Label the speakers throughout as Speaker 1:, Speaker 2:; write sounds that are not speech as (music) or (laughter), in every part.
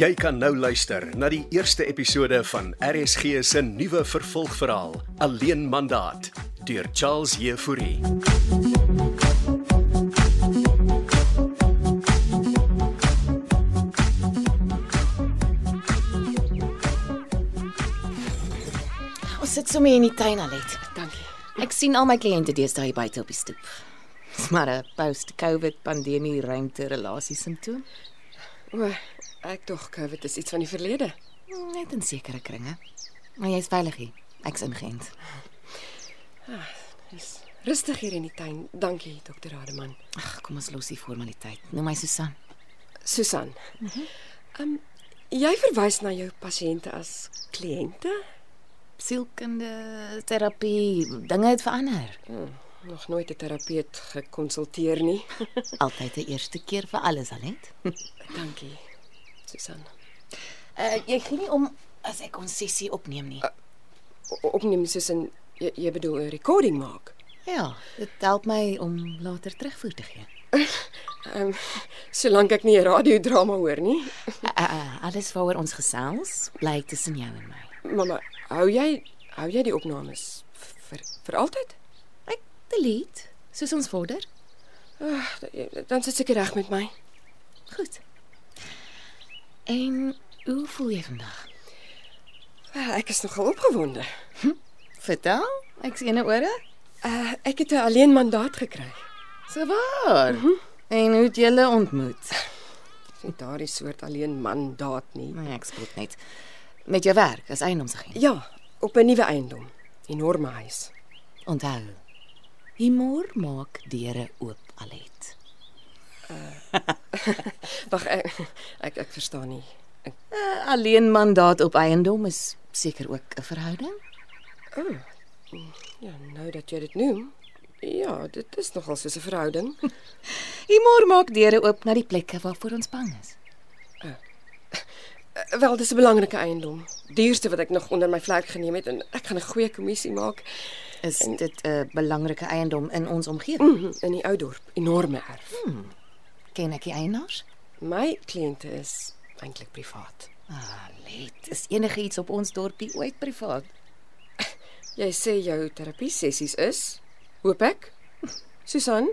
Speaker 1: Jy kan nou luister na die eerste episode van RSG se nuwe vervolgverhaal Alleen Mandaat deur Charles Jefouri.
Speaker 2: Ons sit sommer in die tuin alet.
Speaker 3: Dankie.
Speaker 2: Ek sien al my kliënte deesdae hier buite op die stoep. Dis maar 'n post-COVID pandemie ruimte relasie simptoom.
Speaker 3: O, ek dog COVID is iets van die verlede.
Speaker 2: Net in sekere kringe. Maar jy's veilig hier. Ek's ingeënt.
Speaker 3: Dis rustig hier in die tuin. Dankie, dokter Rademan.
Speaker 2: Ag, kom ons los die formaliteit. Noem my Susan.
Speaker 3: Susan. Ehm um, jy verwys na jou pasiënte as kliënte?
Speaker 2: Sielkunde terapie, dinge het verander.
Speaker 3: Nog nooit 'n terapeut gekonsulteer nie.
Speaker 2: Altyd 'n eerste keer vir alles, Alet.
Speaker 3: Dankie, Susan.
Speaker 2: Uh, jy gee nie om as ek ons sessie opneem nie.
Speaker 3: O- Opneem Susan, jy, jy bedoel 'n recording maak.
Speaker 2: Ja, dit help my om later terugvoer te gee.
Speaker 3: Ehm (laughs) um, solank ek nie 'n radiodrama hoor nie.
Speaker 2: Uh, uh, alles waaroor ons gesels, bly tussen jou en my.
Speaker 3: Mamma, hou jy hou jy die opnames vir vir altyd?
Speaker 2: Ek delete soos ons vorder.
Speaker 3: Uh, dan sit seker reg met my.
Speaker 2: Goed. En hoe voel jy vandag?
Speaker 3: Wel, Ah, ek is nogal opgewonde.
Speaker 2: Vertel, ek sien ene ore.
Speaker 3: Uh, ek het 'n alleen mandaat gekry.
Speaker 2: So waar. Mm -hmm. En hoe het julle ontmoet?
Speaker 3: Dis nie daardie soort alleen mandaat nie.
Speaker 2: Nee, ek spot net met jou werk as eiendomsagent.
Speaker 3: Ja, op 'n nuwe eiendom, enorme huis.
Speaker 2: Onthou. Humor maak deure oop, Alet.
Speaker 3: Wag, ek, ek ek verstaan nie. Ek,
Speaker 2: Uh, alleen mandaat op eiendom is seker ook 'n verhouding.
Speaker 3: ja, nou dat jy dit noem. Ja, dit is nogal soos 'n verhouding.
Speaker 2: Humor maak deure oop na die plekke waarvoor ons bang is.
Speaker 3: Eh, Wel, dis 'n belangrike eiendom. Duurste wat ek nog onder my vlerk geneem het en ek gaan 'n goeie kommissie maak
Speaker 2: Is dit 'n belangrike eiendom in ons omgewing?
Speaker 3: Mhm, in die ou dorp, enorme erf.
Speaker 2: Ken ek die eienaars?
Speaker 3: My kliënte is eintlik privaat.
Speaker 2: Ah, let, is enige iets op ons dorpie ooit privaat?
Speaker 3: Jy sê jou terapie sessies is, hoop ek. Susan,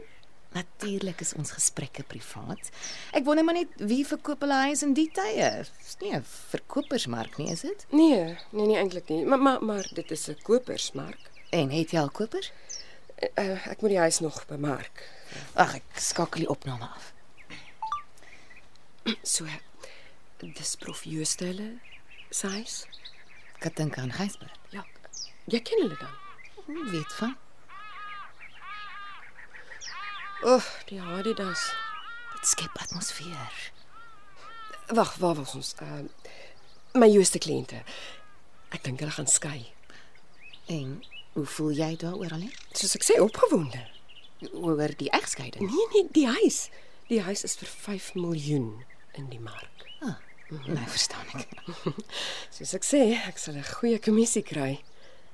Speaker 2: Natuurlik is ons gesprekke privaat. Ek wonder maar net wie verkoop hulle huis in die tye? Dis nie 'n verkopersmark nie, is dit?
Speaker 3: Nee, nee nie eintlik nie, maar maar maar dit is 'n kopersmark.
Speaker 2: En het jy al kopers?
Speaker 3: Uh, ek moet die huis nog bemark.
Speaker 2: Ag, ek skakel die opname af.
Speaker 3: So dis prof Jooste hulle se huis.
Speaker 2: Ek kan dink aan Gysbert.
Speaker 3: Ja. Jy ken hulle dan.
Speaker 2: Ek weet van.
Speaker 3: O, oh, die Adidas.
Speaker 2: Dit skep atmosfeer.
Speaker 3: Wag, waar was ons? Uh, my Jooste kliënte. Ek dink hulle gaan skei.
Speaker 2: En hoe voel jy daaroor al?
Speaker 3: Soos ek sê, opgewonde.
Speaker 2: Oor die egskeiding?
Speaker 3: Nee nee, die huis. Die huis is vir 5 miljoen in die mark.
Speaker 2: Ah, nee, verstaan ek.
Speaker 3: Soos ek sê, ek sal 'n goeie kommissie kry.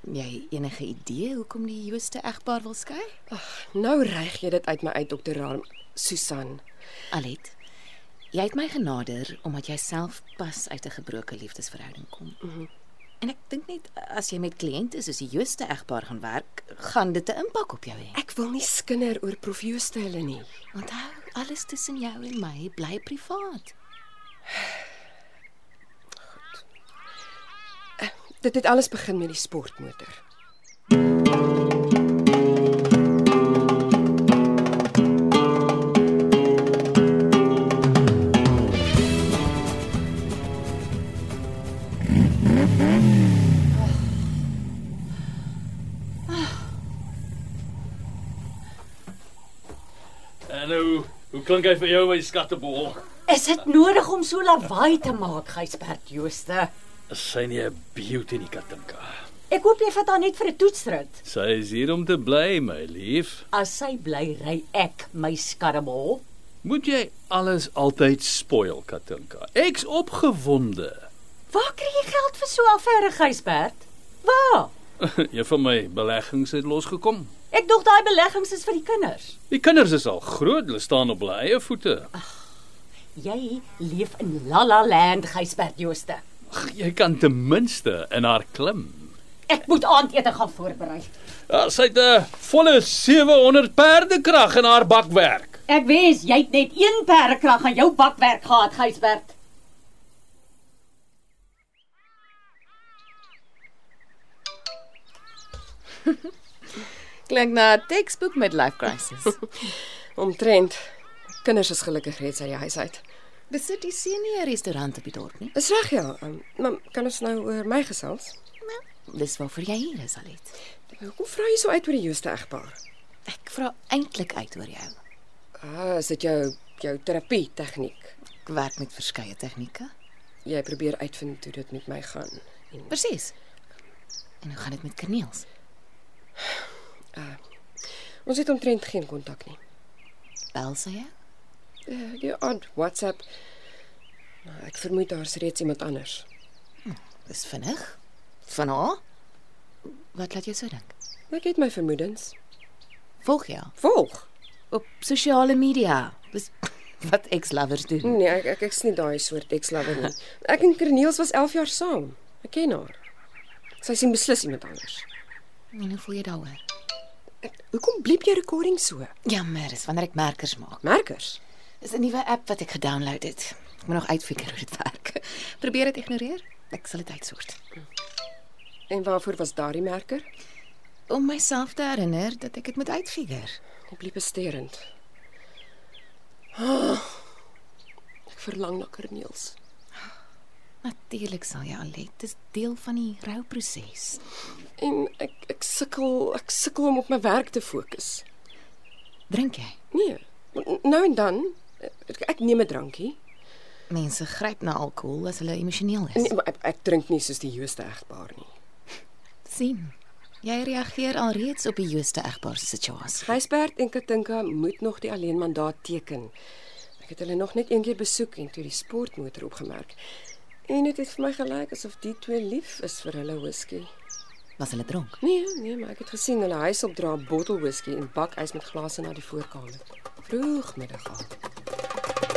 Speaker 2: Jy enige idee hoekom die Jooste egpaar wil skei?
Speaker 3: Ag, nou reig jy dit uit my uit, dokter Raam. Susan.
Speaker 2: Alet, jy het my genader omdat jy self pas uit 'n gebroke liefdesverhouding kom. Mm -hmm. En ek dink net as jy met kliënte soos die Jooste egpaar gaan werk, gaan dit 'n impak op jou hê.
Speaker 3: Ek wil nie skinder oor prof Jooste hulle nie.
Speaker 2: Onthou, alles tussen jou en my bly privaat.
Speaker 3: Dit het alles begin met die sportmotor.
Speaker 4: En hoe hoe klink hy vir jou my skattebol?
Speaker 5: Is dit nodig om so lawaai te maak, Gysbert Jooste?
Speaker 4: Is Sy nie 'n beauty nie, Katinka.
Speaker 5: Ek hoop jy vat haar net vir 'n toetsrit.
Speaker 4: Sy is hier om te bly, my lief.
Speaker 5: As sy bly ry ek my skarremol.
Speaker 4: Moet jy alles altyd spoil, Katinka. Ek's opgewonde. (laughs)
Speaker 5: Waar kry jy geld vir so 'n affære, Gysbert? Waar?
Speaker 4: Een van my beleggings het losgekom.
Speaker 5: Ek dog daai beleggings is vir die kinders.
Speaker 4: Die kinders is al groot, hulle staan op hulle eie voete.
Speaker 5: Jy leef in La La Land, Gysbert Jooste.
Speaker 4: Ag, jy kan ten minste in haar klim.
Speaker 5: Ek moet aandete gaan voorberei.
Speaker 4: Ja, sy het 'n volle 700 perdekrag in haar bakwerk.
Speaker 5: Ek wens jy het net een perdekrag aan jou bakwerk gehad, Gysbert.
Speaker 2: Klink na 'n teksboek met life (laughs) crisis.
Speaker 3: Omtrent kinders is gelukkig reeds uit die huis uit.
Speaker 2: Besit die seun nie 'n restaurant op die dorp nie?
Speaker 3: Dis reg ja. ehm, Maar kan ons nou oor my gesels?
Speaker 2: Dis waarvoor jy hier is, Alet.
Speaker 3: Hoekom vra jy so uit oor die Jooste egpaar?
Speaker 2: Ek vra eintlik uit oor jou.
Speaker 3: Ah, is dit jou jou terapie tegniek?
Speaker 2: Ek werk met verskeie tegnieke.
Speaker 3: Jy probeer uitvind hoe dit met my gaan. En
Speaker 2: Presies. En hoe gaan dit met Kerniels?
Speaker 3: ons het omtrent geen kontak nie.
Speaker 2: Bel sy jou?
Speaker 3: Eh, Die odd WhatsApp. Maar ek vermoed daar's reeds iemand anders.
Speaker 2: Dis vinnig. Van haar? Wat laat jou so dink?
Speaker 3: Ek het my vermoedens.
Speaker 2: Volg jou
Speaker 3: Volg.
Speaker 2: op sosiale media. Dis (laughs) wat ex-lovers doen.
Speaker 3: Nee, ek ek ek's nie daai soort ekslawer nie. (laughs) Ek en Corneels was 11 jaar saam. Ek ken haar. Sy sien beslis iemand anders.
Speaker 2: En hoe voel jy daaroor?
Speaker 3: Hoekom bliep jy recording so?
Speaker 2: Jammer, dis wanneer ek merkers maak.
Speaker 3: Merkers.
Speaker 2: Dis 'n nuwe app wat ek gedownload het. Ek moet nog uitfigure hoe dit werk. (laughs) Probeer dit ignoreer. Ek sal dit uitsort.
Speaker 3: En waarvoor was daardie merker?
Speaker 2: Om myself te herinner dat ek dit moet uitfigure.
Speaker 3: Ek bliep besterend. Ah. Ek verlang na Corneels.
Speaker 2: Natuurlik sal jy Alet, dis deel van die rouproses.
Speaker 3: En ek ek sukkel, ek sukkel om op my werk te fokus.
Speaker 2: Drink jy?
Speaker 3: Nee, n- nou en dan ek, ek neem 'n drankie.
Speaker 2: Mense gryp na alkohol as hulle emosioneel is.
Speaker 3: Nee, maar ek, ek drink nie soos die Jooste egpaar nie.
Speaker 2: sien. Jy reageer alreeds op die Jooste egpaar se situasie.
Speaker 3: Gysbert en Katinka moet nog die alleenmandaat teken. Ek het hulle nog net een keer besoek en toe die sportmotor opgemerk. En dit het vir my gelyk asof die twee lief is vir hulle whisky.
Speaker 2: Was hulle dronk?
Speaker 3: Nee, nee, maar ek het gesien hulle huis opdra bottel whisky en bakys met glase na die voorkamer. Vroegmiddag al.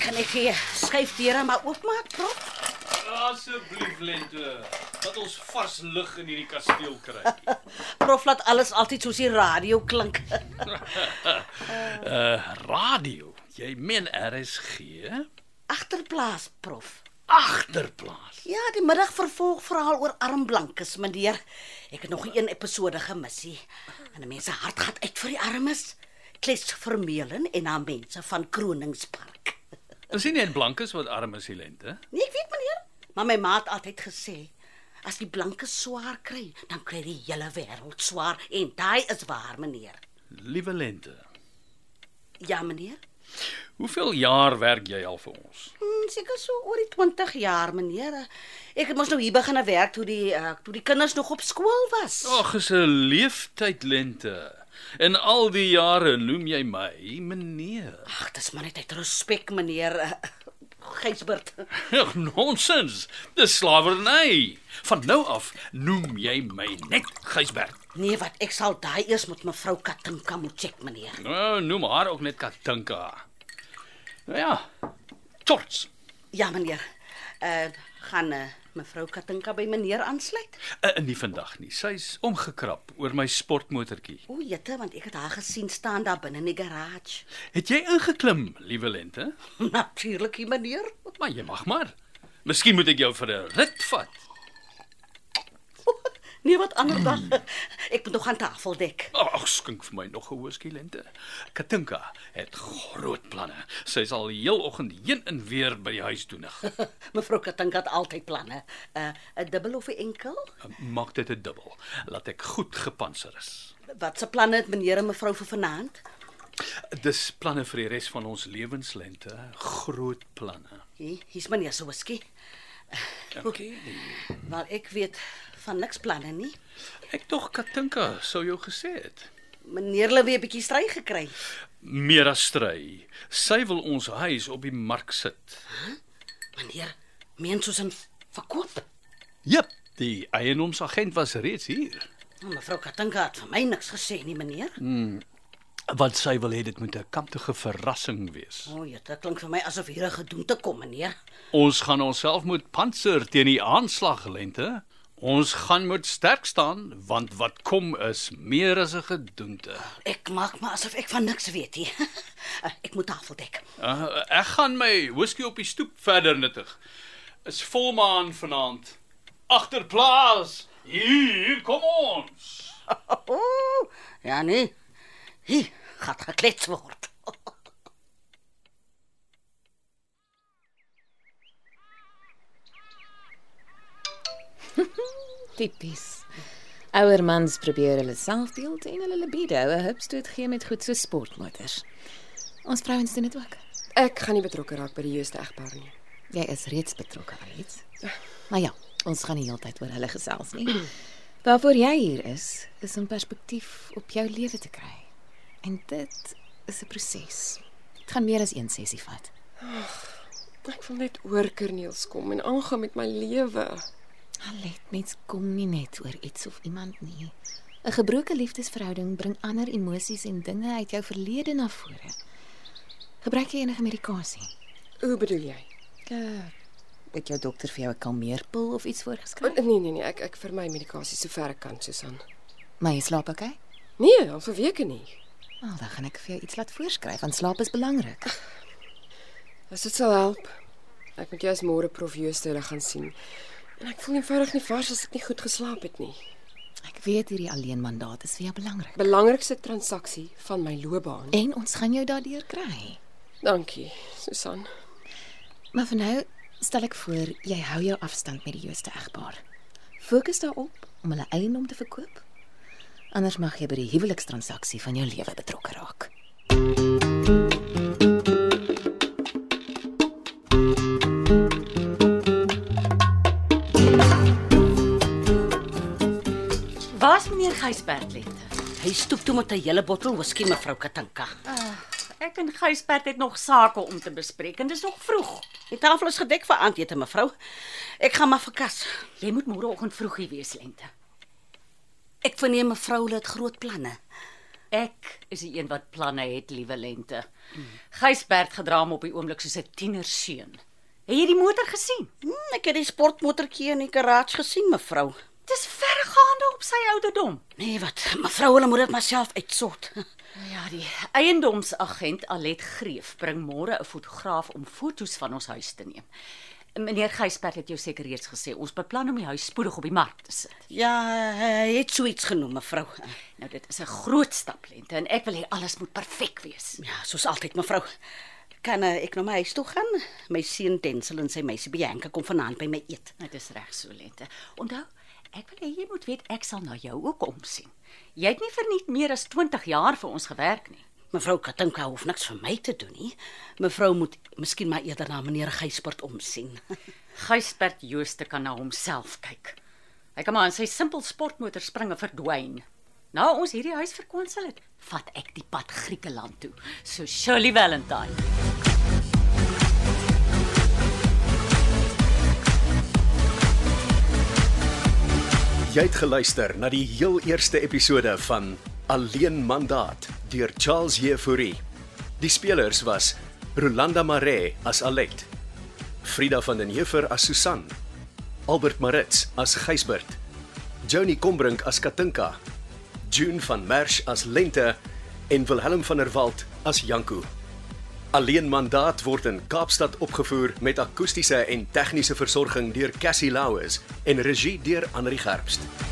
Speaker 6: Kan ek hier skuifdeure maar oopmaak, prof?
Speaker 4: Asseblief Lente, dat ons vars lug in hierdie kasteel kry.
Speaker 6: Prof laat alles altyd soos die radio klink. (laughs)
Speaker 4: Radio. Jy meen RSG?
Speaker 6: Agterplaas, prof.
Speaker 4: Agterplaas.
Speaker 6: Ja, die middag vervolgverhaal oor armblankes, meneer. Ek het nog nie een episode gemissie. En die mense hart gaan uit vir die armes. Kles Vermeulen en haar mense van Kroningspark.
Speaker 4: Dis nie net blankes wat arm is, die Lente.
Speaker 6: Nee, ek weet meneer, maar my ma het altyd gesê As die blankes swaar kry, dan kry die hele wêreld swaar en daai is waar, meneer.
Speaker 4: Liewe Lente,
Speaker 6: Ja, meneer.
Speaker 4: hoeveel jaar werk jy al vir ons?
Speaker 6: Hmm, seker so oor die 20 jaar, meneer. Ek het mos nou hier begin werk toe die uh, toe die kinders nog op skool was.
Speaker 4: Ag, is 'n leeftyd Lente. In al die jare noem jy my meneer. (laughs)
Speaker 6: Ag, dis maar net uit respek, meneer uh, Gysbert.
Speaker 4: Ag, nonsens. Dis slawerny. Van nou af noem jy my net Gysbert.
Speaker 6: Nee, wat ek sal daai eers met mevrou Katinka moet check, meneer.
Speaker 4: Nou, noem haar ook net Katinka. Nou ja. Torts.
Speaker 6: Ja, meneer. Uh gaan uh, mevrou Katinka by meneer aansluit?
Speaker 4: Uh, nie vandag nie. Sy's omgekrap oor my sportmotortjie.
Speaker 6: O, jette, want ek het haar gesien staan daar binne in die garage. (laughs)
Speaker 4: Het jy ingeklim, liewe Lente?
Speaker 6: Natuurlik, meneer.
Speaker 4: Maar jy mag maar. Miskien moet ek jou vir 'n rit vat.
Speaker 6: Nee, wat ander dag. (laughs) Ek moet nog aan tafel dek. (laughs)
Speaker 4: Ag, skink vir my nog 'n whisky Lente. Katinka het groot planne. Sy sal die heel oggend heen en weer by die huis doenig.
Speaker 6: Mevrou Katinka het altyd planne. 'n uh, 'n dubbel of 'n enkel?
Speaker 4: Eh, Maak dit 'n dubbel. Laat ek goed gepantser is.
Speaker 6: Wat se planne het meneer en mevrou vir vanaand?
Speaker 4: Dis planne vir die res van ons lewens Lente, groot planne.
Speaker 6: Hier, hier's meneer se whisky.
Speaker 4: Dankie.
Speaker 6: Maar ek weet van niks planne nie.
Speaker 4: Ek tog Katinka sou jou gesê het.
Speaker 6: Meneer het weer 'n bietjie stry gekry.
Speaker 4: Mera stry. Sy wil ons huis op die mark sit.
Speaker 6: Meneer, meen soos 'n verkoop.
Speaker 4: Jep, die eienaarsagent was reeds hier.
Speaker 6: Nou, mevrou Katinka het vir my niks gesê nie, meneer.
Speaker 4: Wat sy wil hê dit moet 'n kamptige verrassing wees.
Speaker 6: O, dit klink vir my asof hier 'n gedoente kom, meneer.
Speaker 4: Ons gaan onsself moet pantser teen die aanslag lente. Ons gaan moet sterk staan want wat kom is meer as 'n gedoente.
Speaker 6: Ek maak maar asof ek van niks weet nie. (laughs) Eh, ek moet tafel dek.
Speaker 4: Uh, ek gaan my whisky op die stoep verder nuttig. Is volmaan vanaand. Agterplaas. Hier kom ons.
Speaker 6: Ooh, ja nee. Hier gaan geklets word.
Speaker 2: Tipies. Ouer mans probeer hulle selfbeeld en hulle libido 'n hupstoot gee met goed so sportmotors. Ons vrouens doen dit ook.
Speaker 3: Ek gaan nie betrokke raak by die jeuste egpaar nie.
Speaker 2: Jy is reeds betrokke alreeds. Maar ja, ons gaan die hele tyd oor hulle gesels nie. (clears throat) Waarvoor jy hier is, is om perspektief op jou lewe te kry. En dit is 'n proses. Dit gaan meer as een sessie vat.
Speaker 3: Ek wil net oor Kerniels kom en aangaan met my lewe.
Speaker 2: Alet, mens kom nie net oor iets of iemand nie. 'n Gebroke liefdesverhouding bring ander emosies en dinge uit jou verlede na vore. Gebruik jy enige medikasie?
Speaker 3: Hoe bedoel jy?
Speaker 2: Ja. Het jou dokter vir jou 'n kalmeerpil of iets voorgeskryf?
Speaker 3: Oh, nee nee nee, ek ek vermy medikasie sover ek kan, Susan.
Speaker 2: Maar jy slaap oké? Okay?
Speaker 3: Nee, al vir weke nie.
Speaker 2: Wel, dan gaan ek vir jou iets laat voorskryf want slaap is belangrik.
Speaker 3: As dit sal help. Ek moet jou as môre prof Jooste hulle gaan sien. En ek voel eenvoudig nie vars as ek nie goed geslaap het nie.
Speaker 2: Ek weet hierdie alleen mandaat is vir jou belangrik.
Speaker 3: Belangrikste transaksie van my loopbaan.
Speaker 2: En ons gaan jou daardeur kry.
Speaker 3: Dankie, Susan.
Speaker 2: Maar vir nou stel ek voor jy hou jou afstand met die Jooste egpaar. Fokus daarop om hulle eiendom te verkoop. Anders mag jy by die huwelikstransaksie van jou lewe betrokke raak.
Speaker 5: Waar's meneer Gysbert lente?
Speaker 6: Hy stoep toe met 'n hele bottel whisky, mevrou Katinka.
Speaker 5: Ah, Ek en Gysbert het nog sake om te bespreek en dis nog vroeg.
Speaker 6: Die tafel is gedek vir aandete, mevrou. Ek gaan maar vir kas.
Speaker 5: Jy moet môreoggend vroeg hier wees lente.
Speaker 6: Ek verneem mevrou hulle het groot planne.
Speaker 5: Ek is die een wat planne het, liewe lente. Gysbert gedra hom op die oomblik soos 'n tienerseun. Het jy die motor gesien?
Speaker 6: Hm, ek het die sportmotortjie in die garage gesien, mevrou.
Speaker 5: Dis vergaande op sy ouderdom.
Speaker 6: Nee, wat? Mevrou, hulle moet dit maar self uitsort.
Speaker 5: Ja, die eiendomsagent Alet Greef bring môre 'n fotograaf om fotos van ons huis te neem. Meneer Gysbert het jou seker reeds gesê ons beplan om die huis spoedig op die mark te sit.
Speaker 6: Ja, hy het so iets genoem, mevrou.
Speaker 5: Nou dit is 'n groot stap lente en ek wil hê alles moet perfek wees.
Speaker 6: Ja, soos altyd, mevrou. Kan eh, ek nou my huis toe gaan? My seun Tensel en sy meisie Bianca kom vanaand by my eet.
Speaker 5: Dit is Nou, reg so lente. Onthou, ek wil hê jy moet weet ek sal na jou ook omsien. Jy het nie verniet meer as 20 jaar vir ons gewerk nie.
Speaker 6: Mevrou Katinka hoef niks vir my te doen nie. Mevrou moet miskien maar eerder na meneer Gysbert omsien. (laughs)
Speaker 5: Gysbert Jooste kan na homself kyk. Hy kan maar in sy simpel sportmotor spring en verdwyn. Nou ons hierdie huis verkwansel het, vat ek die pad Griekeland toe. So Shirley Valentine.
Speaker 1: Jy het geluister na die heel eerste episode van Alleen Mandaat deur Charles Jefouri. Die spelers was Rolanda Maree as Alet, Frida van den Heever as Susan, Albert Maritz as Gysbert, Johnny Combrink as Katinka, June van Merch as Lente en Wilhelm van der Walt as Janko. Alleen Mandaat word in Kaapstad opgevoer met akoestiese en tegniese versorging deur Cassie Louws en regie deur Anri Gerbst.